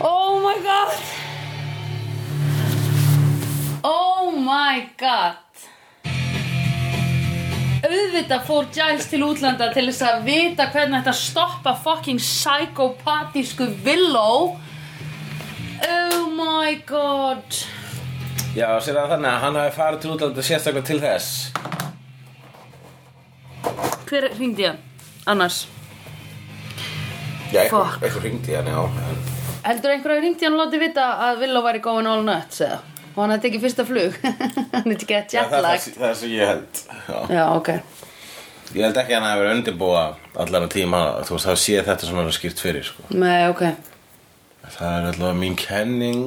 Oh Oh auðvitað fór Giles til útlanda til þess að vita hvernig þetta stoppa fucking psykopatísku villó Oh my god Já, sér það þannig að hann hafi farið til útlanda sérstaklega til þess Hver hringdi hann? Annars Já, eitthvað, Fuck. eitthvað hringdi í hann, já en, Heldur einhverju hringdi hann og láti vita að villó væri going all nuts eða? Og hann hefði tekið fyrsta flug Hann hefði ekki að Já, það, er það, jetlagt sem- það er sem ég held já. Já, ok Ég held ekki að hann hafi verið að undirbúa allan að tíma Þú veist, það sé þetta svona skýrt fyrir, sko Nei, ok Það er alltaf mín kenning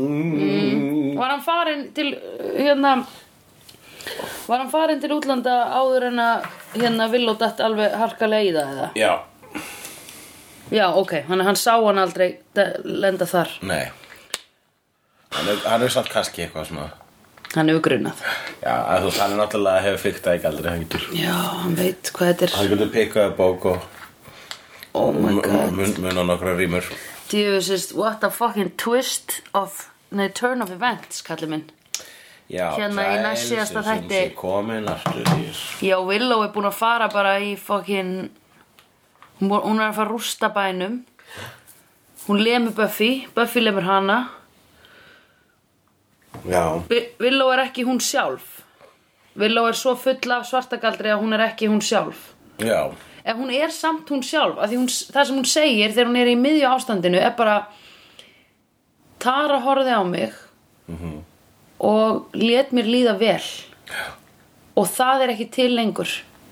Var hann farin til uh, hérna Var hann farin til útlanda áður en að hérna vill og dætt alveg harkalega í það eða? Já, Já, ok, hann, hann sá hann aldrei de- lenda þar nei Hann er, hann er satt kannski eitthvað svona Hann er ugrunað Já, að þú veist, hann er náttúrulega hefur fyrkt að ekki aldrei hann getur Já, hann veit hvað þetta Hann getur pikkað upp bók og er Oh my Mm, god mun, mun á nokkra rýmur Jesus, what a fucking twist of Nei, turn of events, kallir minn Já, Hérna í næst síðasta þætti. Komin aftur í Já, Willow er búin að fara bara í fucking Hún bú- hún er að fara að rústa bænum Hún lemur Buffy Buffy lemur hana Já, Vi- Willow er ekki hún sjálf Willow er svo full af svartagaldri að hún er ekki hún sjálf já, Ef hún er samt hún sjálf af því hún, það sem hún segir þegar hún er í miðju ástandinu er bara Tara horfði á mig og let mér líða vel og það er ekki til lengur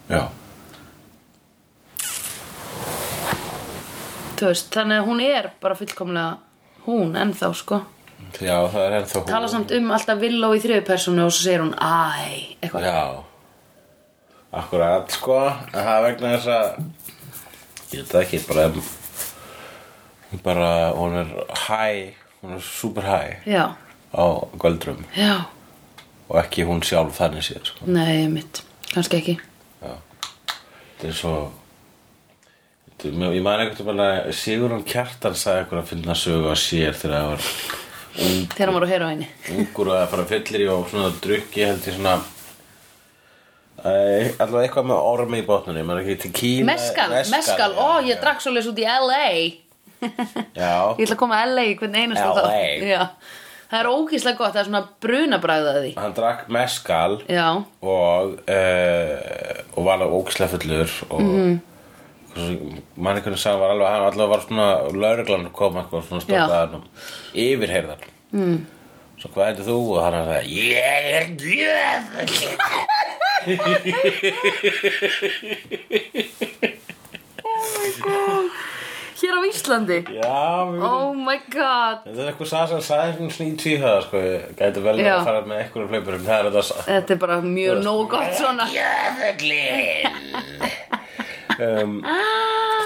já Þú veist, þannig að hún er bara fullkomlega hún ennþá sko Já, það er ennþá hún tala samt um alltaf Willow í þriðu personu og svo segir hún æ, eitthvað Já Akkurat, sko En það er vegna þess að Ég veit það ekki, bara Bara, hún er hæ Hún er super hæ já, Á göldrum já, Og ekki hún sjálf þannig séð, sko nei, mitt kannski ekki Þetta er svo Þetta er mjög- Ég man einhvern veginn að Sigurðan Kjartan sagði einhvern að finna sögu að sér þegar það var ung þegar hann var á heroinni ungur að fara fyllir í og svona drukki held ég svona Æ, allavega eitthvað með ormi í botnunni maður er ekki til Kína meskal, meskal, já, ó, ég já. drakk svolítið út í LA ég já, ætla að koma að LA í hvern einasta LA. þátt. já, það er ógíslega gott það er svona brunabræðaði hann drakk meskal já, og uh, og var alveg ógislega fullur og mm Mhm. -hmm. mann einhvern sagði var alveg hann allavega var svona lauruglan kom eitthvað svona stókaðan yfirheyrðan mm. svo hvað heitir þú og hann er það ég er gjöð hér á Íslandi já, við oh my god Þetta er eitthvað sað sem sagði svona svona í tvíhöða sko, ég gæti vel verið Já. að fara með einhverjum hlaupurum, það er þetta sað. þetta er bara mjög nógu gott svona Jöfuglinn! um,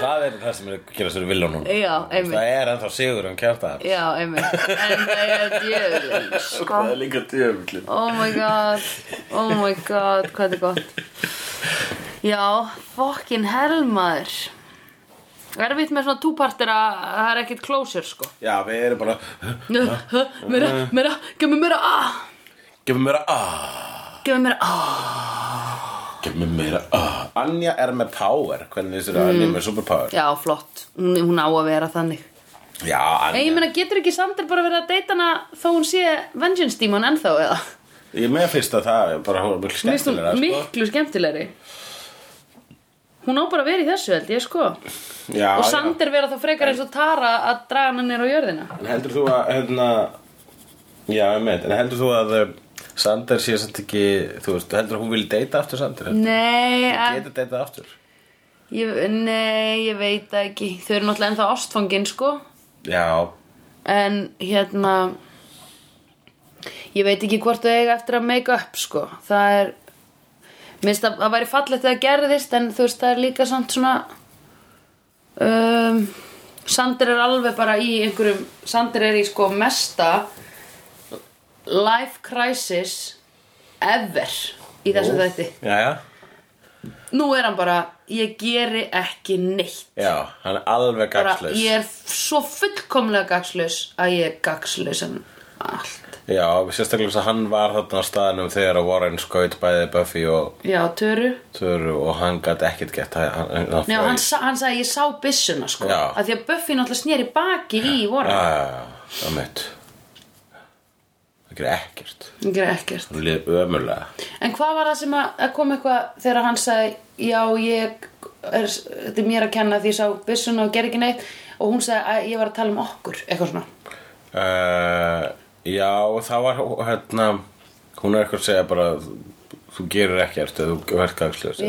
það er það sem er að gera sér vilja núna. Ah. Já, einmitt. Það er ennþá sigur um kjartaðar. já, einmitt en það er djöðlinn sko Það er líka djöfuglinn. Oh my god, oh my god, hvað þetta er gott Já, fokkin helmaður Erfitt með svona túpartir að að það er ekkit closure sko Já, við erum bara, Hö, hö, Meira, Eh. meira, gefur mér meira ah, gefum mér að, aaa, Gefur mér meira ah gefum mér að, aaa. Anja er með power, hvernig þessir að Anja er með superpower. Mm. Já, flott, hún, hún á að vera þannig Já, En ég Anja. meina, getur ekki Sander bara verið að deyta hana þó hún sé vengeance dímon ennþá eða Ég með finnst að það er bara, hún er mjög Mér finnst skemmtilega, hún sko. miklu skemmtilegri Hún á bara að vera í þessu held ég sko Já, Og já. Sander vera þá frekar eins og Tara að draga hana nýr á jörðina En heldur þú að hérna, Já, ég meint, en heldur þú að uh, Sander sé samt ekki Þú veist, heldur að hún vil deyta aftur Sander Hún Nei, en, Getur deyta aftur ég, nei, ég veit það ekki Þau eru náttúrulega ennþá ástfangin, sko Já, En hérna Ég veit ekki hvort þau eiga eftir að make up, sko Það er Minnst að það væri fallegt þegar gerðist En þú veist, það er líka samt svona um, Sander er alveg bara í einhverjum Sander er í sko mesta Life crisis Ever Í þessu þætti já, já Nú er hann bara, ég geri ekki neitt. Já, hann er alveg Bara, gagslaus ég er f- svo fullkomlega gagslaus að ég er gagslaus en um allt. Já, sérstaklega þess að hann var þarna á staðnum þegar að Warren skaut bæði Buffy og já, Töru Töru og hann gat ekkert gett hann, hann, hann Nei, og hann, fraus. sa- hann sagði ég sá byssuna sko Já. að því að Buffy náttúrulega sneri baki í voru Já, ja. já, já, það mitt Það gerir ekkert ekkert Hún liður ömulega En hvað var það sem að, að kom eitthvað þegar hann sagði já ég er, þetta er mér að kenna því ég sá byssuna og ger ekki neitt og hún sagði að ég var að tala um okkur eitthvað svona uh, Já, það var hérna Hún er eitthvað að segja bara Þú gerir ekkert eða þú verður Já, gagslega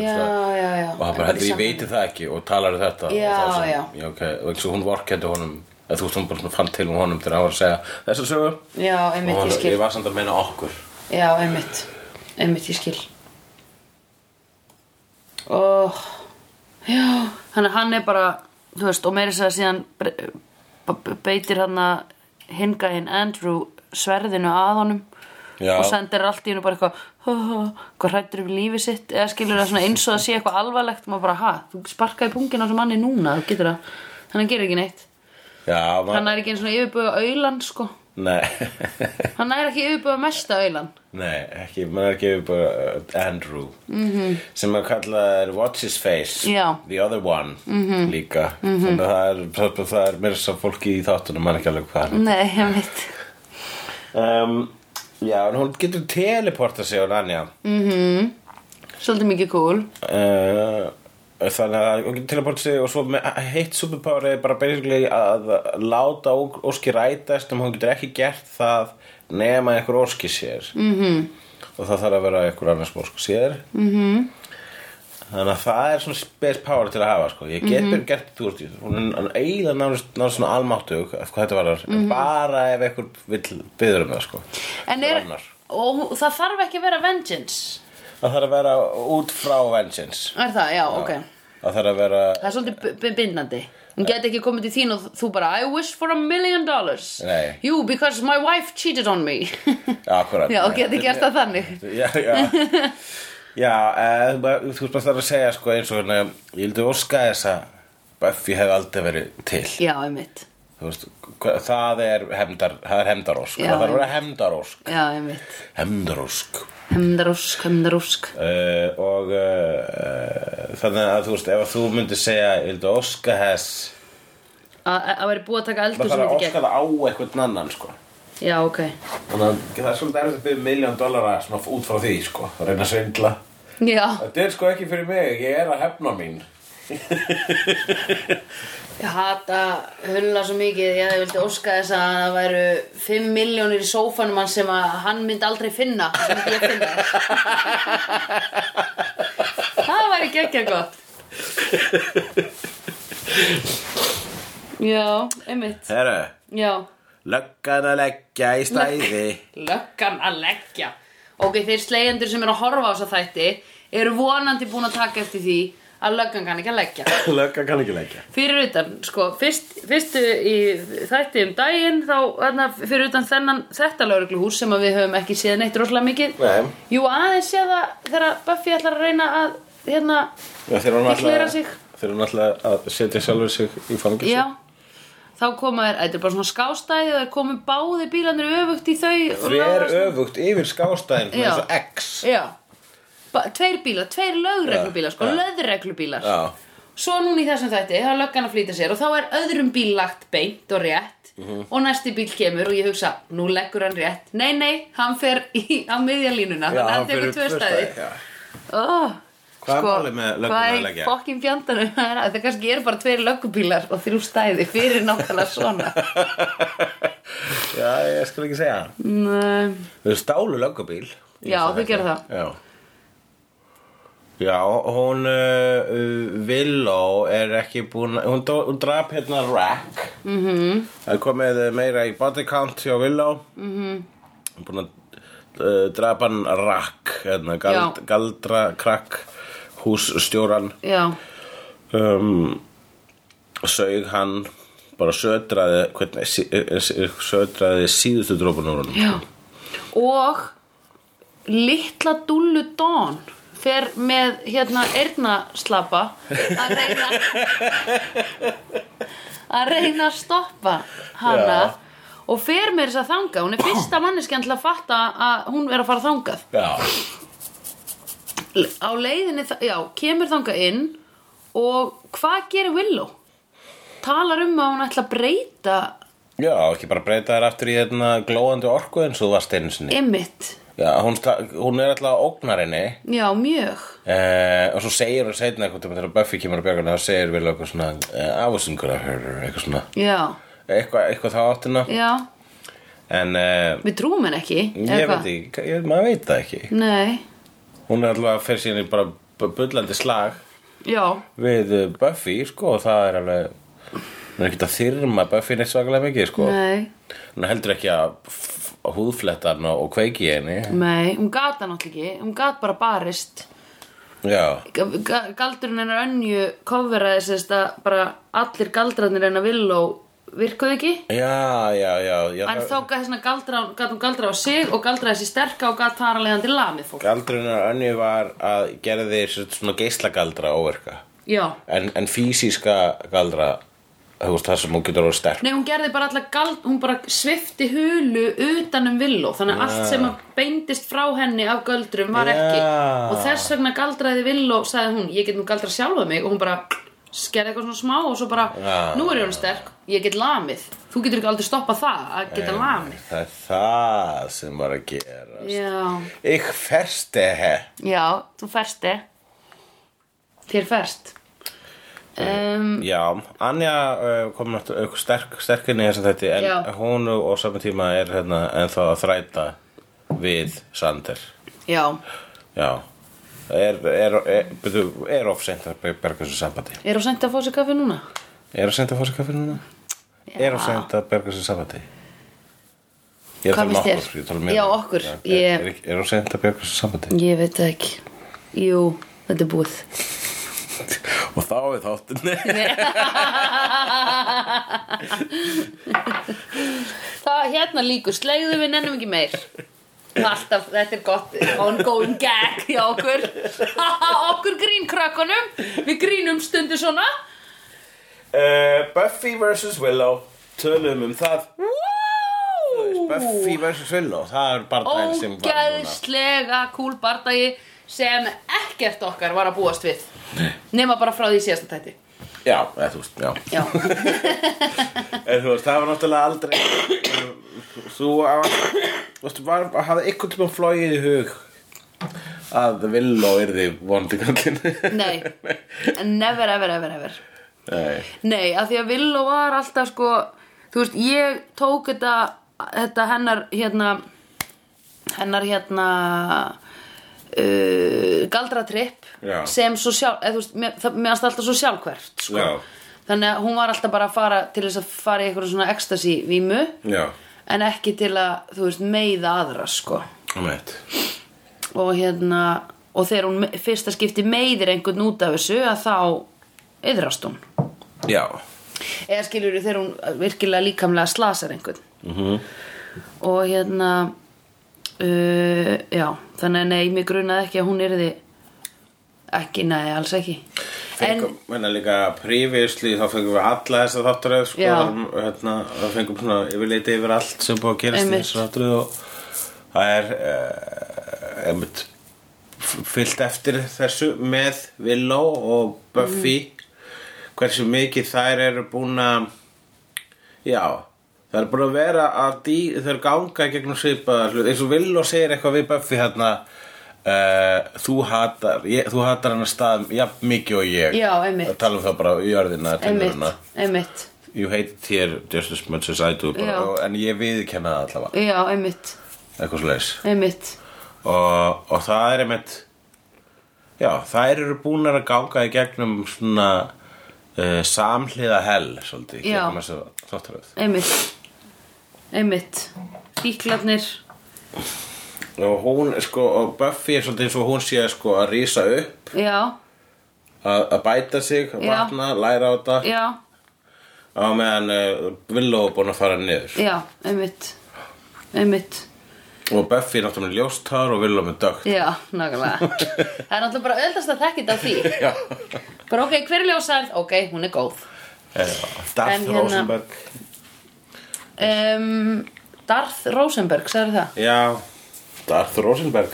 já, já Og hann Eitthvað í bara, heldur, ég sambandi. veiti það ekki og talar þetta Já, og það sem, já. já ok, og eins og hún vorkendi honum eða þú veist, hún bara svona fann til um honum þegar hann var að segja þessa sögu Já, og einmitt, hann, ég skil ég var samt að meina okkur Já, einmitt, einmitt, ég skil Og Já, þannig að hann er bara þú veist, og meiri sér að síðan bre- b- b- beitir hann að hinga hinn Andrew sverðinu að honum Já. og sendir allt í hennu bara eitthvað "Ha, ha, hvað hrættur um lífið sitt eða skilur það svona eins og það sé eitthvað alvarlegt og maður bara, ha, þú sparkaði pungin á sem manni núna þú getur það, þannig að gera ekki neitt já, hann maður, er ekki eins og yfirbuga auðlan sko, nei hann er ekki yfirbuga mesta auðlan Nei, ekki, maður er ekki yfir bara uh, Andrew -hmm. sem að kalla er What's His Face Já. The Other One -hmm. líka mm -hmm. þannig að það er, það er- það er meira svo fólki í þáttunum maður er ekki alveg hvað hann nei, ég veit er. um, Já, en hún getur teleportað sig á Nanja Svolítið mikið cool uh, Þannig að hún getur teleportað sig og svo með, heitt superpower er bara basically að láta ó- óski rætast en hún getur ekki gert það nema einhver óski sér -hmm. og það þarf að vera einhver annars sem óski sér -hmm. Þannig að það er svona space power til að hafa sko. Ég get mm -hmm. gert þú veist ég- Hún er eiginlega nánast, nánast svona almáttug af hvað þetta var bara ef einhver vill byður um það sko. En er, Annar. og hún- það þarf ekki að vera vengeance Það þarf að vera út frá vengeance Er það, já, ok Það þarf að vera Það er svolítið b- b- bindandi Hún geti ekki komið til þín og þú bara I wish for a million dollars Nei. You, because my wife cheated on me Já, akkurat Já, og geti gert það þannig Já, já Já, eh, þú þú veist bara það að segja sko eins og hérna Ég vildi óska þess að Buffy hefði aldrei verið til Já, einmitt Þú veist, hva- það er hemdar, það er hemdarósk Já, Það þarf að vera einmitt. hemdarósk Já, einmitt Hemdarósk Hemdarúsk, hemdarúsk uh, Og uh, þannig að þú veist Ef þú myndir segja, ég vildi óska þess Að veri búið að taka eldur Það sem þarf að þetta óska gegn það á eitthvað annan sko Já, ok Þannig að það er svolítið erfitt að byrja miljón dollara svona út frá því sko Að reyna að svindla Já, Þetta er sko ekki fyrir mig, ég er að hefna mín ég hata hulla svo mikið Ég vildi óska þess að það væru 5 miljónir í sófanum hans sem að hann myndi aldrei finna sem myndi ég finna Það væri geggja gott Já, einmitt Herru, Já, löggan að leggja í stæði löggan að leggja Ok, þeir slegjendur sem eru að horfa á þessa þætti eru vonandi búin að taka eftir því að löggan kann ekki að leggja Löggan kann ekki leggja Fyrir utan, sko, fyrst, fyrstu í þætti um daginn þá, þarna, fyrir utan þennan, þetta laurugluhús sem að við höfum ekki séð neitt rosalega mikið Nei. Jú, aðeins séð það þegar Buffy ætlar að reyna að, hérna, Þeir eru Deklara sig. náttúrulega Þeir eru náttúrulega að setja sjálfur sig í fangins já Þá koma þér, þetta er bara svona skástæði og þeir komu báði bílanir öfugt í þau og Þver lögreglan- öfugt yfir skástæðin Já. með þessu X Já ba Tveir bílar, tveir lögreglubílar sko, Já. löðreglubílar Já, Svo núna í þessum þætti, þá er löggan að flýta sér og þá er öðrum bíl lagt beint og rétt Mhm. og næsti bíl kemur og ég hugsa nú leggur hann rétt, nei nei hann fer í, á miðjalínuna já þannig að hann tekur fyrir tvö tvö stæði já. oh, Hvað er málið með lögguna að Hvað leggja? er fokkin fjandanum það er að það kannski eru bara tveir löggubílar og þrjú stæði fyrir nákvæmlega svona já, ég skal ekki segja Nei, Þau stálu löggubíl Já, þau gerðu það. Já Já, hún uh, uh, Villó er ekki búin hún, dó- hún drap hérna Rack mm Mhm. -hmm. Það er komið uh, meira í body count hjá Villó mm Mhm. -hmm. Hún er búin að uh, drapa hann Rack hérna, gald, Já. galdra krakk hússtjóran Já, um, sög hann bara södraði hvernig, sí- eh, eh, södraði síðustu drópun úr honum Já. Og litla dullu Dawn fer með hérna eyrnaslapa að reyna að reyna að stoppa hana Já. og fer mér þess að þanga hún er fyrsta manneskjan til að fatta að hún er að fara þangað Já, L- á leiðinni, þa- já, kemur þangað inn og hvað gerir Willow? talar um að hún ætla að breyta já, ekki bara breyta þér aftur í hérna glóðandi orku eins og þú varst einu sinni ymmit Já, hún, sta- hún er alltaf ógnarinni já, mjög Uh, og svo segir hún seinna eitthvað þegar Buffy kemur á björguna og segir vel eitthvað svona uh, I was in gonna hurt her eitthvað svona já, eitthvað, eitthvað þá áttina já, en uh, við trúum henn ekki ég veit ekki, ég, maður veit það ekki ekki nei, hún er alltaf að fyrir síðan í bara bu- bullandi slag já, við uh, Buffy sko og það er alveg hún er ekkert að þyrma Buffy neitt svakalega mikið sko nei hún er heldur ekki að f- að húðfletta hann og kveiki í henni nei, hún gata náttúrulega ekki hún gat bara barist já, Ga- ga- galdurinn hennar önju kofveraði sérst að bara allir galdrarnir hennar Willow virkuðu ekki já, já, já, já en þá gat hérna galdra, gat hún galdra á sig og galdraði sér sterka og gat þar að leiðandi lamið fólk Galdrunar önni var að gera þér svona geislagaldra óverka já, en, en fysiska galdra þú veist það sem hún getur að sterk nei hún gerði bara allar gald hún bara svifti hulu utan um Willow þannig að allt sem beindist frá henni af galdrum var Já. ekki og þess vegna galdraði Willow sagði hún, ég get nú galdrað sjálfa mig og hún bara skerði eitthvað svona smá og svo bara, Já. nú er ég hún sterk ég get lamið, þú getur ekki aldrei stoppað það að geta lamið það er það sem var að gera Já, ég fersti he já, þú fersti Þér ferst um, já, Anja uh, kom náttúrulega eitthvað sterk, sterkinni þess að þetta en Já. hún og á saman tíma er hérna ennþá að þræta við Sander Já, já er, er, er, er, er of seint að berga þessu sambandi er þú sent að fá sér kaffi núna? er of seint að fá sér kaffi núna er of seint að berga þessu sambandi Ég er Hvað að tala um finnst þér? okkur, ég er að tala um mig. Já, okkur. er, Ég- er, ekki- er of seint að berga þessu sambandi Ég veit það ekki Jú, þetta er búið Og þá við þáttinni Það hérna líkur, slegðu við nennum ekki meir Alltaf, þetta er gott ongoing gag hjá okkur okkur grínkrökkunum við grínum stundu svona uh, Buffy vs. Willow Tölum um það Woo! Buffy vs. Willow Það er bara það sem var núna ógeðslega kúl bardagi sem ekkert okkar var að búast við nema bara frá því síðasta tætti Já, eða þú veist, já já, Eða þú veist, það var náttúrulega aldrei Þú að- Þú veist, var, hafði ykkur tíma flóið í hug Að Willow yrði vondi kallin nei never, ever, ever, ever Nei nei, af því að Villó var alltaf sko þú veist, ég tók þetta þetta hennar hérna hennar hérna uh, galdratripp Já. sem svo sjálf eða, þú veist, mér, það, mér varst alltaf svo sjálfhvert sko. Já. þannig að hún var alltaf bara að fara til þess að fara í eitthvað svona ekstasi vímu Já, en ekki til að, þú veist, meiða aðra, sko. um eitt Og hérna, og þegar hún me- fyrsta skipti meiðir einhvern út af þessu, að þá yðrast hún. Já Eða skilur þegar hún virkilega líkamlega slasar einhvern. -hmm. Og hérna, uh, já, þannig að nei, mér grunaði ekki að hún yrði, ekki, nei, alls ekki. En, Fengum, menna líka prífisli, þá fengum við alla þessa þátturöð, sko, Já. þar- hérna, þá fengum svona yfirleiti yfir allt sem búið að gerast í Einmitt. þessu þátturöð og það er, uh, einmitt, f- fyllt eftir þessu með Willow og Buffy, Mhm. hversu mikið þær eru búin að, já, það er búin að vera að dý, þau eru ganga í gegnum svipaða hlut, eins og Willow segir eitthvað við Buffy hérna, Uh, þú hatar ég, þú hatar hann að stað jafn mikið og ég Já, einmitt. að tala um það bara í jörðina tilveruna. einmitt, einmitt, you hate here just as much as I do bara, Já. og, en ég viðkenna það allavega já, einmitt, eitthvað slags einmitt, og, og það er einmitt já, þær eru búnar að ganga í gegnum svona uh, samhliða hell svolítið, Já. gegnum þessu þáttaröð einmitt, einmitt, fíklarnir, og hún, sko, og Buffy er svolítið eins og hún sé sko að rísa upp já, að að bæta sig, Já. vatna, læra á þetta já, á meðan uh, Willow er búin að fara niður Já, einmitt Einmitt og Buffy er náttúrulega með ljóst hár og Willow með dögt Já, nákvæmlega Það er náttúrulega bara öðvast að þekki þetta á því já Bara ok, hver er ljósærð? Ok, hún er góð Eh, Darth En hérna- Rosenberg um, Darth Rosenberg, sagði það Já, Darth Rosenberg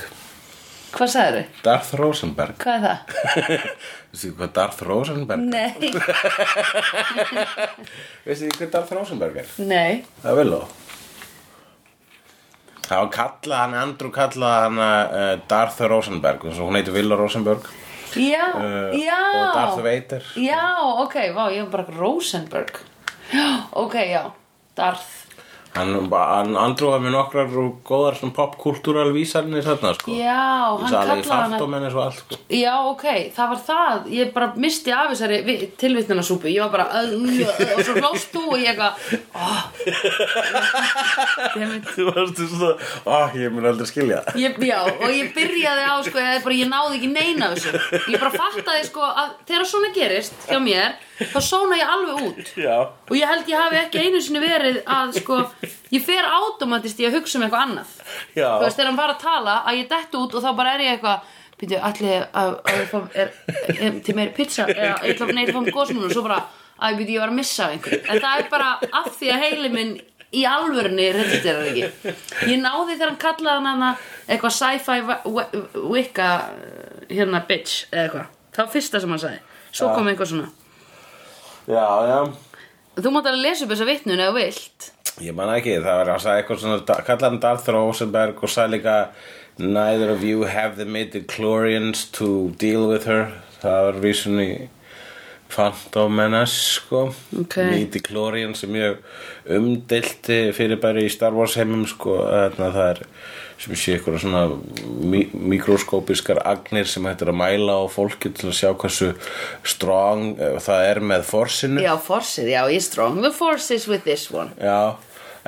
Hvað sagði þau? Darth Rosenberg Hvað er það? Veistu hvað Darth Rosenberg? Nei Veistu þið hvað Darth Rosenberg er? Nei Það er vel á Það var kallað, hann Andrew kallað hann uh, Darth Rosenberg eins og hún heitir Villa Rosenberg Já, uh, já og Darth Vader Já, ok, vá, ég var bara Rosenberg Já, ok, já Darth Sko, Hann, hann Andrew var með nokkrar og góðar svona popkultúral vísanir þarna sko Já, hann kallaði hann hana Fantómennis og allt sko Já, ok, það var það Ég bara misti af þessari tilvittnunasúpu Ég var bara uh, uh, uh, Og svo hlóst þú og ég eitthvað oh. Dammit. Þú varst svona, ah, ég mun aldrei skilja það Ég, já, og ég byrjaði á, sko, ég, bara, ég náði ekki neina af þessu. Ég bara fattaði, sko, að þegar svona gerist hjá mér, þá sóna ég alveg út. Já Og ég held ég hafi ekki einu sinni verið að, sko, ég fer automatist í að hugsa um eitthvað annað. Já. Þú veist, þegar hann var að tala, að ég dettu út og þá bara er ég eitthvað, býttu, allir að, að ég fá, er, er, til meiri pizza, eða ég ætla að neyta fá mér góðsmunum og svo bara, að ég býttu, ég var að missa af einhverju. En það er bara af því að heili minn í alvörunni registrar ekki. Ég náði þegar hann kallaði hann hana eitthvað sci-fi wa- wa- wicca hérna bitch eða eitthvað. Það var fyrsta sem hann sagði. Svo kom eitthvað svona. Já, já Þú mátt alveg lesa upp þessa vitnun eða þú vilt Ég man ekki, það var að sagði eitthvað svona kallaði hann Darth Rosenberg og sagði líka Neither of you have the midichlorians to deal with her Það var vísun í Phantom Menace sko Ok. Midichlorians er mjög umdelt fyrir bara í Star Wars heimum sko þannig að það er sem sé eitthvað svona mí mikroskópiskar agnir sem hættir að mæla á fólki til að sjá hversu strong eh, það er með forsinu Já, forces, já, ég er strong The forces with this one Já,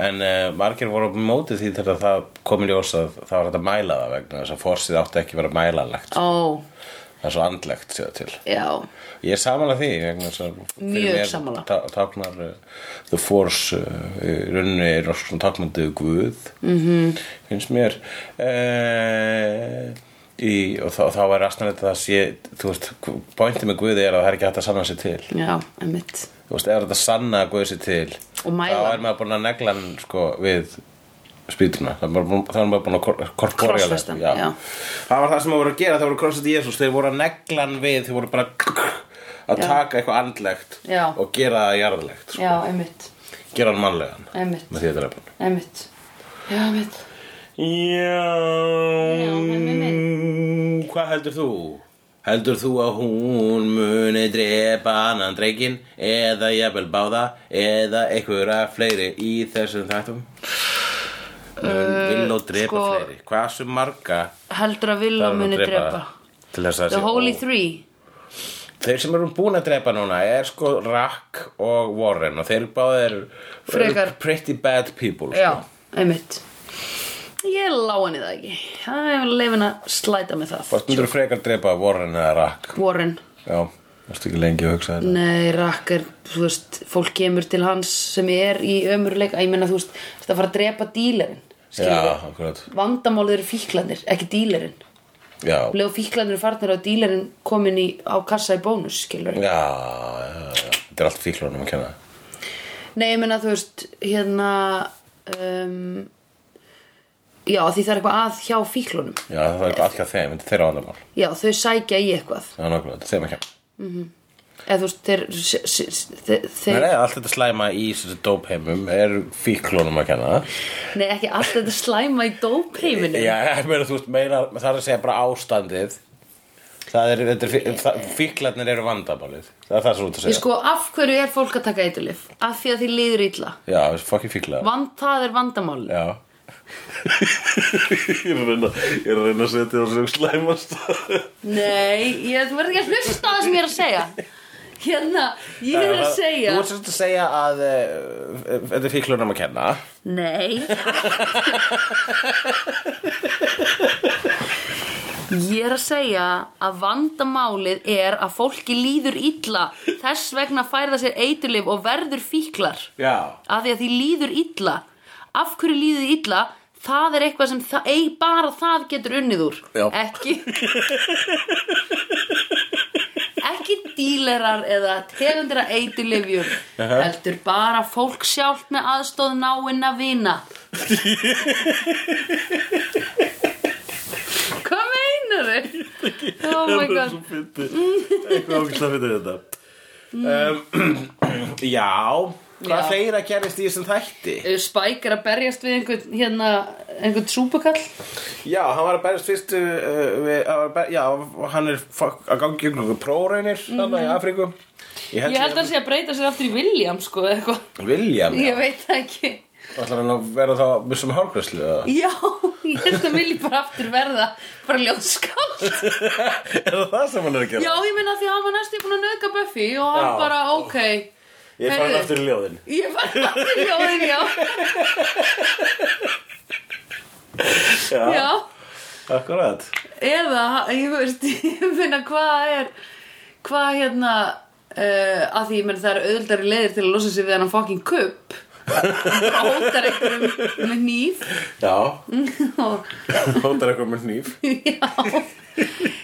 en uh, margir voru á móti því þegar það kom í ljós að það var hægt að mæla það vegna þess að forsið átti ekki að vera mælanlegt. Ó, Það er svo andlegt séða til. Oh, já Ég er samanlega því vegna þess að fyrir Mjög mér sammála. tá- táknar uh, The Force uh, í rauninni er nokkuð svona táknandi guð Mhm. -hmm. finnst mér uh, í, og þá, þá er rastan þetta að sé þú veist, pointi með guði er að það er ekki hægt að sanna sér til Já, einmitt þú veist, ef þetta sanna guðið sér til Og mæla. þá er maður búin að negla hann sko við spýtuna þá er maður búin- þá er maður búin að kor- korporeala- Krossfesta, já. það var það sem maður voru að gera það voru krossið Jésús, þeir voru að negla hann við þeir voru bara að Já. taka eitthvað andlegt Já. og gera það jarðlegt sko. Já, einmitt, gera hann mannlegan Einmitt. með því að drepa hann einmitt Já, einmitt já, Já, með- með hvað heldur þú? Heldur þú að hún muni drepa annan dreikinn eða jafnvel báða eða einhverja fleiri í þessum þættum? Mun vil og Uh, drepa sko- fleiri. Hversu marga Heldur að vilja þarf hún muni að drepa Til þess að The sé- Holy ó, Three Þeir sem eru búin að drepa núna er sko Rack og Warren og þeir báðir Frekar- pretty bad people sko. Já, einmitt Ég lá henni það ekki Það er leifin að slæta með það Hvort myndur frekar drepa Warren eða Rack? Warren Já, varstu ekki lengi að hugsa hérna? þetta Nei, rakk er, þú veist, fólk kemur til hans sem er í ömurleika Ég meina, þú veist, þetta fara að drepa dílarinn Já, akkurat Vandamálið eru fíklanir, ekki dílarinn Já, já, Legu fíklanir farnir og dílarinn komin í, á kassa í bónus, skilur já, já Þetta er allt fíklunum að kenna Nei, ég meina, þú veist, hérna um, Já, því það er eitthvað að hjá fíklunum Já, það er eitthvað alltaf þeim, þetta er þeirra vandamál Já, þau sækja í eitthvað Já, nákvæmlega, þetta er þeim að kenna Eða þú veist, þeir, s- s- þeir, Nei, þeir nei, allt þetta slæma í þessu dópheimum er fíklunum að kenna Nei, ekki allt þetta slæma í dópeiminu Já, ég meina, þú veist, meina, það er að segja bara ástandið Það er, þetta er, fí- það- fíklarnir eru vandamálið Það er það sem þú ert að Ég segja sko, af hverju er fólk að taka eitulif? Af því að því líður illa Já, þessu fokki fíkla Vand, það er vandamál Já ég, er að reyna, ég er að reyna að setja það sem slæmast Nei, ég, þú verður ekki að hlusta á það sem ég er að segja Hérna, ég er að segja Þú ert svolítið að segja að uh, þetta er fíklunum að kenna Nei Ég er að segja að vandamálið er að fólki líður illa Þess vegna færða sér eiturlif og verður fíklar Já Af því að því líður illa Af hverju líður þið illa? Það er eitthvað sem það, ei, bara það getur unnið úr Já. Ekki Ekki ílerar eða tegundira eitulifjur heldur bara fólk sjálft með aðstóð náinna vina Hvað meinar þau? Oh my Það er god svo fyndið. Eitthvað ógislega fyndið þetta um, Já Hvað Mm. Já. fleira gerist í þessum þætti? Eh, Spike er að berjast við einhvern hérna, einhvern súpukall Já, hann var að berjast fyrstu uh, við, hann var að ber, Já, hann er fuck, að gangi ykkur ykkur próraunir mm í Afríku Ég Mhm. Ég held að hann sé að breyta sér aftur í William sko, eða eitthvað William, já Ég veit það ekki Ætlar hann að vera þá með sem hálgröslu eða? Já, ég held að vilji bara aftur verða bara ljóðskáld Er það það sem hann er að gera? Já, ég minna því að hann var næstu búin að nöðga Buffy og hann Já. bara, ok Ég fann heyrðu. aftur í ljóðin Ég var aftur ljóðin, já Já, Já, akkurat eða, ég veist, ég finna hvað er hvað hérna uh, að því, ég menn það er auðvöldari leiðir til að losa sig við hann fucking kupp bara hótar einhverjum með nýf Já, og, hóttar eitthvað með hníf já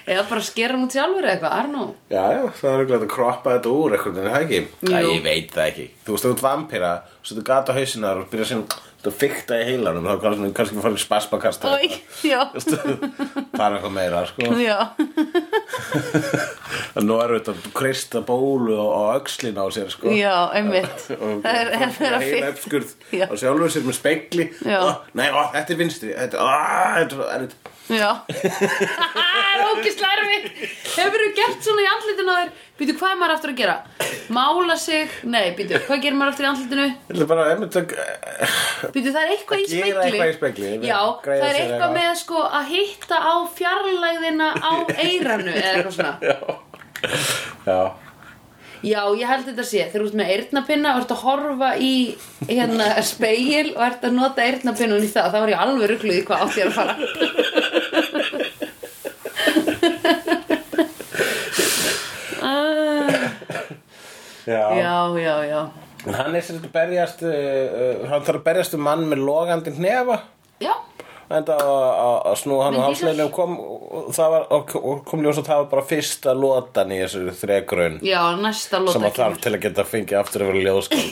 eða bara skera hann út sjálfur eða eitthvað, Arnó Já, já, það er auðvitað að kroppa þetta úr eitthvað, en það ekki Já, Jú. ég veit það ekki Þú veist, þú ert vampíra, þú setur gata hausinar og byrja sem, þú fykta í heilanum þá kannski, kannski farið spasmakasta Oj, já, Það er eitthvað meira, sko já En Nú er auðvitað að kreista bólu á á öxlina á sér, sko Já, einmitt Og Það er, er, er að heila fyrir uppskurð Já. á sjálfur sér með spegli Já. Ó, Nei, ó, þetta er vinstri Þetta, á, þetta er erfitt. Já Það er ógislega erfitt Hefur þú gert svona í andlitinu á þér Býtu, hvað er maður aftur að gera? Mála sig, nei, býtu, hvað gerir maður aftur í andlitinu? Ég ætla bara, einmitt að- Býtu, það er eitthvað í Að spegli gera eitthvað í spegli, ég meina, Já, greiða það er sér eitthvað eitthvað. með sko að hitta á fjarlægðina á eiranu eða eitthvað svona Já Já, ég held þetta sé, þegar þú ert með eirnapinna og ert að horfa í hérna spegil og ert að nota eirnapinnun í það þá var ég alveg rugluð í hvað átt ég að fara Ah, Já, Já, já, já En hann er sér að berjast uh, uh, hann þarf að berjast um mann með logandi hnefa Já, enda að snúa hann á Vin Diesel? hálsleinu og kom, og, það var, og, og kom ljós að það var bara fyrsta lotan í þessu þregraun já, næsta lóta sem að þarf til að geta fengið aftur að vera ljóðskál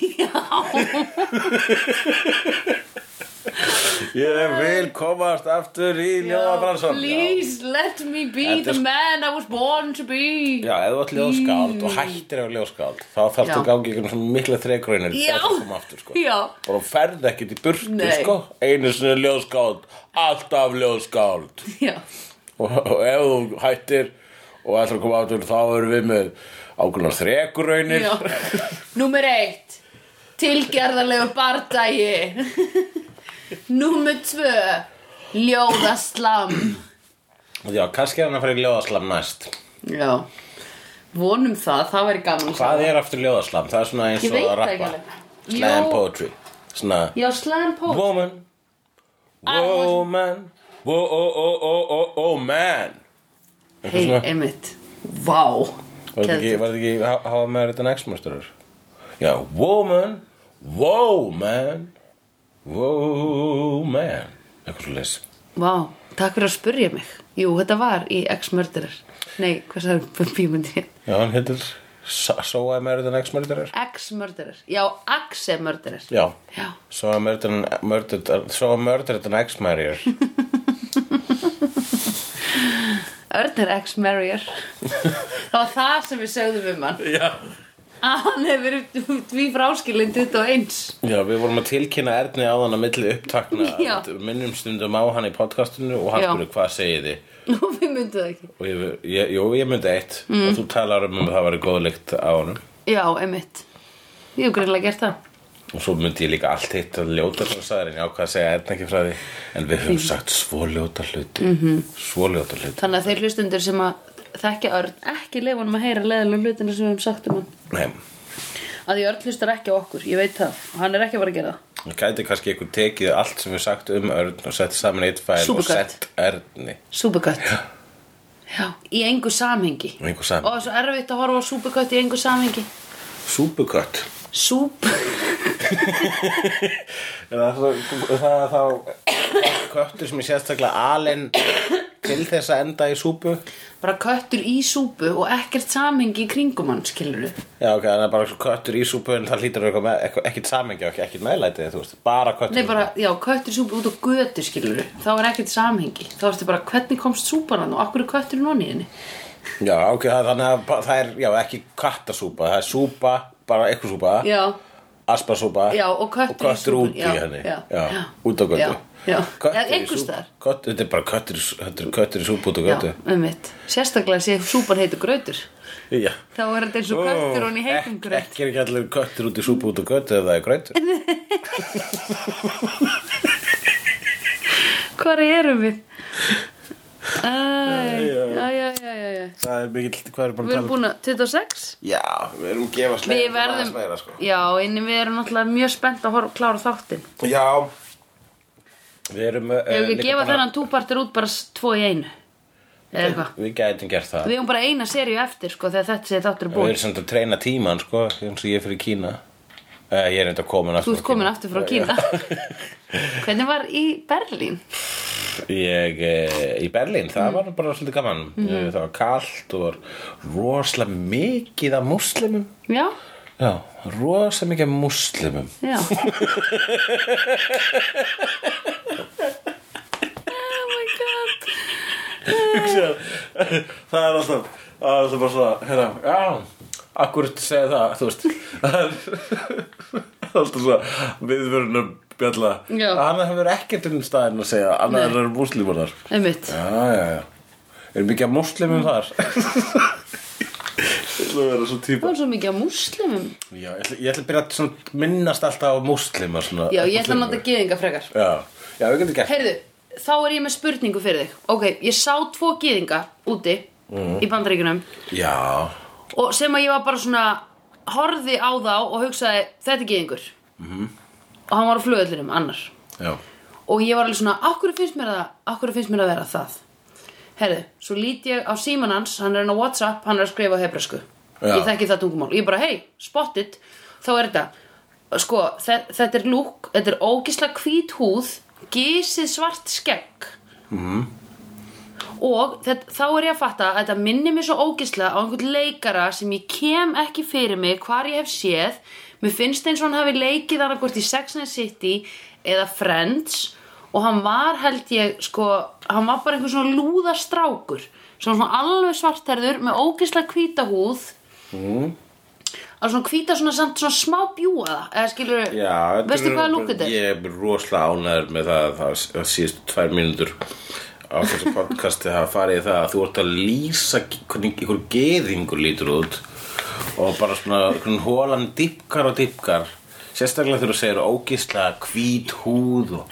Ég vil komast aftur í ljóðabransan Please let me be Þetta er the sk- man I was born to be Já, ef þú ert ljóðskáld og hættir að vera ljóðskáld þá Já. þarfst að gangi ykkur svona mikla þregraunir til Já. þess að koma aftur sko. Já. Bara ferð ekkert í burtu Nei. sko. Einu sinni ljóðskáld Alltaf ljóðskáld Já, og, og ef þú hættir og ætlar að koma aftur þá erum við með ákveðnar þregraunir já Númer eitt Tilgerðarlegu bardagi Númer tvö Ljóðaslam Já, kannski er hann að fara í ljóðaslam næst Já Vonum það, það væri gaman að sjá Hvað er aftur ljóðaslam? Það er svona eins Ég og veit að það ekki rappa alveg Slam Ljó- poetry Svona Já, slam poetry Woman was- Woman oh, Wo-o-o-o-o-o-man Hei, svona. einmitt Vá Var þetta ekki, var þetta ekki, ha- hafa maður þetta next masterar? Já, woman, wow man, wow man, eitthvað svo leys. Vá, takk fyrir að spurja mig Jú, þetta var í X-Murderer Nei, hvað sagði bímyndin? Já, hann heitir, so að maður þetta next masterar? X-Murderer, já, X-Murderer Já, Já, so að maður þetta next masterar. Örn er X-Marrier Það var það sem við sögðum um hann Já. að hann hefur verið því fráskilin 21 Já, við vorum að tilkynna Erni á þann að milli upptakna, Já. að minnum stundum á hann í podcastinu og hann Já. spurði hvað segið þið? og við myndum það ekki Og ég, ég, jú, ég myndi eitt, mm. og þú talar um að það væri góðleikt á honum. Já, einmitt Ég hef greinlega gert það Og svo myndi ég líka allt hitt að ljóta frá sæðar en ég ákvað að segja einn ekki frá því en við höfum sagt svo ljóta hluti Mhm. -hmm. svo ljóta hluti Þannig að þeir hlustundur sem að þekkja Örn ekki leifunum að heyra leðalega hlutina sem við höfum sagt um hann Nei, að því Örn hlustar ekki á okkur, ég veit það og hann er ekki að fara að gera það það gæti kannski ykkur tekið allt sem við sagt um Örn og sett saman eitt fæl og Supercut. sett Örni Súbukött Já, í engu samhengi og einhver saman Og svo erfitt að horfa á súbukött í engu samhengi Súbukött Súb Það er þá köttur sem er sérstaklega alinn til þess að enda í súpu bara köttur í súpu og ekkert samhengi í kringum hann skilur já ok, þannig að bara köttur í súpu en það hlýtur eitthvað með, eitthvað, ekkert samengi og ekkert meðlætið, þú veist, bara köttur Nei bara, já, köttur í súpu út á götu skilur þá er ekkert samhengi, þá ertu bara hvernig komst súpan hann og akkur er köttur nonni henni já ok, það- þannig að bara- það er, já ekki kattasúpa, það er súpa bara eitthvað súpa, Já, aspasúpa Já, og köttur í súpunni, út í já, henni, já, já. út á Já, götu já. Köttur Eða í einhvers súpu- staðar. köttur- þetta er bara köttur, í sú- þetta er köttur í súpu út á já, götu ummitt Sérstaklega sé súpan heitur grautur já, þá er þetta eins og köttur hann í heitum Ek- graut ekki er ekki allir köttur út í súpu út á götu ef það er grötur Hvar erum við? Æ, já, já, já, já, já það er mikill, hvað er Við erum búin að 26 um? Já, við erum gefa sleið Við verðum, meira, sko. já, inni við erum náttúrulega mjög spennt að horf, klára þáttinn Já Við erum uh, Ef við ekki gefa þennan túpartir út bara s- tvo í einu Eða eitthvað Við gætum gert það Við eigum bara eina seríu eftir sko þegar þetta sé þáttur er Við búin erum samt að treyna tíman, sko eins og ég er fyrir Kína uh, Ég er enda komin Þú ert komin aftur frá Kína Hvernig var í Berlín? Ég, uh, í Berlín, það var bara svolítið gaman Mhm. mm. Það var kalt og var rosalega mikið af múslimum Já, Já, rosalega mikið af múslimum já Oh my god Hugsaðu, það er alltaf það er alltaf bara svona hérna, já, akkur ertu að segja það þú veist það er það er alltaf svona viðvörunum bjalla Já. annað hefur ekkert um staðin að segja annað Nei. er múslimar þar Einmitt já, já, já er mikið af múslimum þar ég ætla að vera svo Það típa var svo mikið af múslimum já, ég ætla, ég ætla að byrja að svona minnast alltaf á múslima svona, Já, ég ætla að nota gyðinga frekar já, já, við getum gert Heyrðu, þá er ég með spurningu fyrir þig Ok, ég sá tvo gyðinga úti í bandaríkunum já, og sem að ég var bara svona horfði á þá og hugsaði þetta er gyðingur -hmm. og hann var á flugöllinum annar já, og ég var alveg svona, akkur finnst mér það akkur finnst mér að vera það herðu, svo lít ég á síman hans hann er hann á Whatsapp, hann er að skrifa á hebresku Já. ég þekki það tungumál, ég bara hey, spot it þá er þetta sko, þe þetta er lúk, þetta er ógislega hvít húð gísið svart skegg og þetta, þá er ég að fatta að þetta minni mér svo ógislega á einhvern leikara sem ég kem ekki fyrir mig hvar ég hef séð mér finnst eins og hann hafi leikið hann hvort í Sex and the City eða Friends og hann var held ég sko, hann var bara einhver svona lúðastrákur sem var svona alveg svartherður með ógislega hvíta húð mm. að svona hvíta svona samt svona smá bjúaða eða skilur, Já, þetta veistu er- hvaða lúk þetta er? Ég er rosalega ánæður með það að það- að síðustu tvær mínútur á þessu podcasti hafa farið í það að þú ert að lýsa hvernig einhver geðingur lítur út og bara svona hvernig hólan dýpkar og dýpkar sérstaklega þegar þú segir ógislega hvít húð og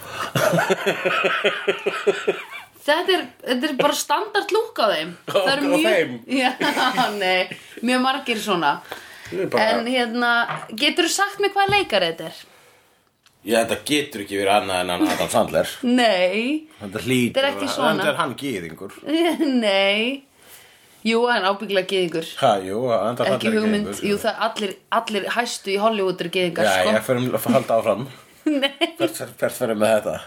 Þetta er, þetta er bara standard lúk á þeim Það eru Á mjög þeim? Já, nei, mjög margir svona Ég er bara- En hérna, geturðu sagt mér hvað leikar þetta er? Já, þetta getur ekki verið annað en hann Adam Sandler Nei, Þetta hlýtur Þetta er ekki að- svona. Þetta er hann geðingur nei Jú, en ábyggla geðingur Ha, jú, Adam Sandler Ekki er hugmynd, geðingur. jú það allir, allir hæstu í Hollywood eru geðingar sko. Já, sko. ég fyrir að halda áfram Nei, Hvert hvert fyrir með þetta?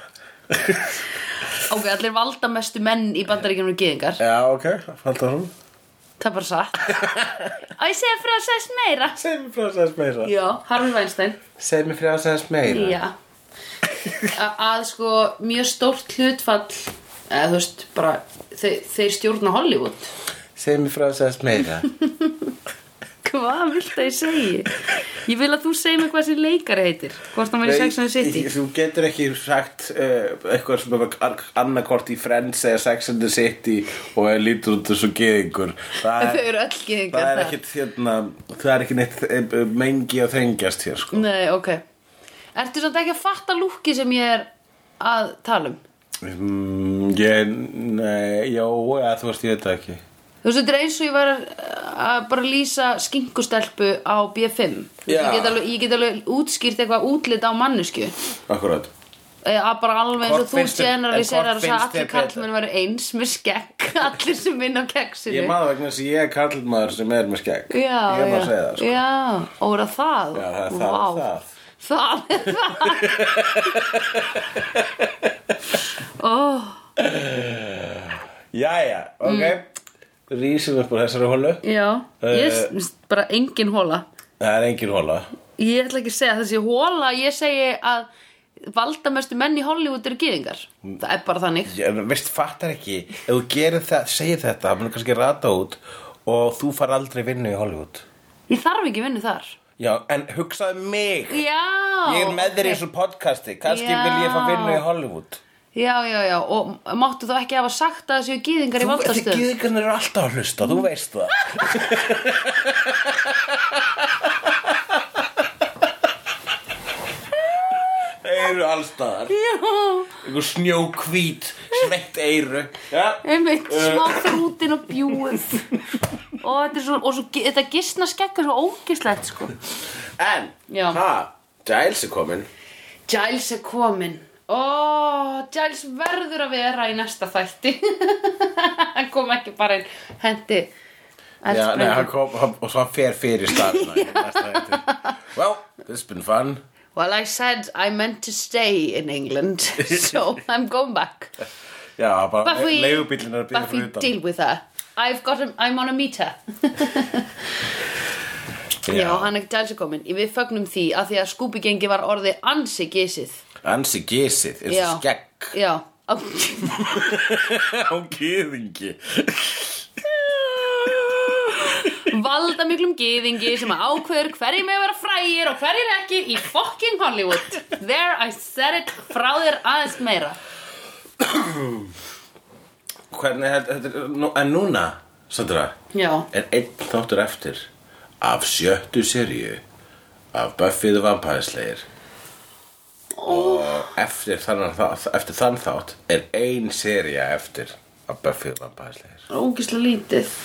ok, allir valdamestu menn í bandaríkjum eru geðingar Já, ok, halda áfram Það er bara satt Á, ég segja frá að segja meira Segð mér frá þess aðeins meira Já, Harvey Weinstein Segð mér frá þess aðeins meira Já A- að sko mjög stórt hlutfall eða þú veist bara þeir, þeir stjórna Hollywood Segð mér frá þess aðeins meira Hvað viltu að ég segi? Ég vil að þú segi mig hvað sem leikari heitir Hvort hann verið Sex and the City Þú getur ekki sagt uh, eitthvað sem er annarkort í Friends eða Sex and the City og er lítur út þessu geðingur Það Þau er, eru öll geðingar það er þar. ekkit hérna, það er ekki neitt eh, eh, mengi að þrengjast hér sko Nei, ok Ertu samt ekki að fatta lúki sem ég er að tala um? mm, Ég, nei, já, eða, þú veist ég þetta ekki Þú veist, þetta er eins og ég var að, að bara lýsa skinkustelpu á B5 Þú veist, Já. ég, get alveg, ég get alveg útskýrt eitthvað útlit á mannesku Akkurat Eh, að bara alveg eins og Hvort þú finnst þér- generaliserar en og hvort sagði finnst allir þér betra? kallmenn væru eins með skekk, allir sem vinna á keksinu Ég maður vegna þess að ég er karlmaður sem er með skegg já, Ég já, maður segja það sko já, og er það það Já, það er það, Vá. það. það er það ó, Jæja, ok Mm. Rísum upp úr þessari hólu Já, Eh. ég, uh, bara engin hóla Það er engin hóla Ég ætla ekki að segja þessi hóla Ég segi að valdamestu menn í Hollywood eru gyðingar Mm. Það er bara þannig Ég- en Veist, fattar ekki Ef þú gerir það, segir þetta Það mun kannski rata út Og þú far aldrei vinnu í Hollywood Ég þarf ekki vinnu þar Já, en hugsaðu mig Já Ég er með þér í ok. þessu podcasti Kannski Já. vil ég fá vinnu í Hollywood Já, já, já, og máttu þá ekki hafa sagt að það séu gyðingar í Þú- Þessi valdastöðum gýðingarnir eru alltaf að hlusta, þú veist það Þeir eru allstaðar Já, Einhver snjókvít, sveitt eiru Já, einmitt, smá þrútin og bjúið Og þetta er svo, og svo, gi- þetta gistna skekk er svo ógislegt, sko en, Já. ha, Giles er komin Giles er komin Ó, Giles verður að vera í næsta þætti Hann kom ekki bara inn Hendi Já, nei, eldsprengu. hann kom hann, og svo hann fer fyrir starfna Well, this has been fun Well, I said I meant to stay in England So I'm going back Já, bara But we, leigubíllinn er að býða but we deal with her I've got a, I'm on a meter Já, hann er Giles er komin Við fögnum því að því að skúpigengi var orðið ansi gisið Ansi gisið, eins Já, og skegg já á gýðingi Valda miklum gyðingi sem að ákveður hverjir með vera frægir og hverjir ekki í fucking Hollywood There I said it frá þér aðeins meira Hvernig, þetta- þetta er- nú- en núna, Sandra Já, er einn þáttur eftir af sjöttu seríu af Buffy the Vampire Slayer og eftir þann, eftir þann þátt er ein sería eftir af Buffy the Vampire Slayer ógislega lítið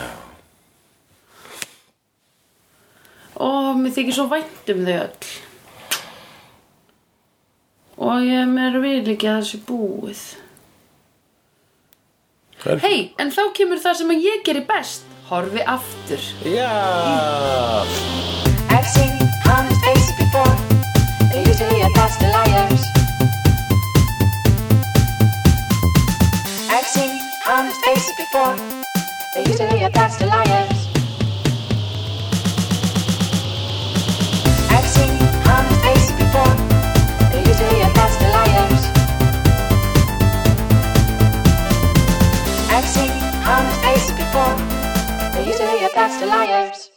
Já. Ó, mér þykir svo vænt um þau öll Og ég mér vil ekki að þessi búið Hei, en þá kemur það sem að ég geri best Horfi aftur Já I've seen honest faces before. They're usually a pass to liars. I've seen honest faces before. They're usually a pass to liars. I've seen honest faces before. They're usually a pass to liars. I've seen honest faces before. They're usually a pass to liars.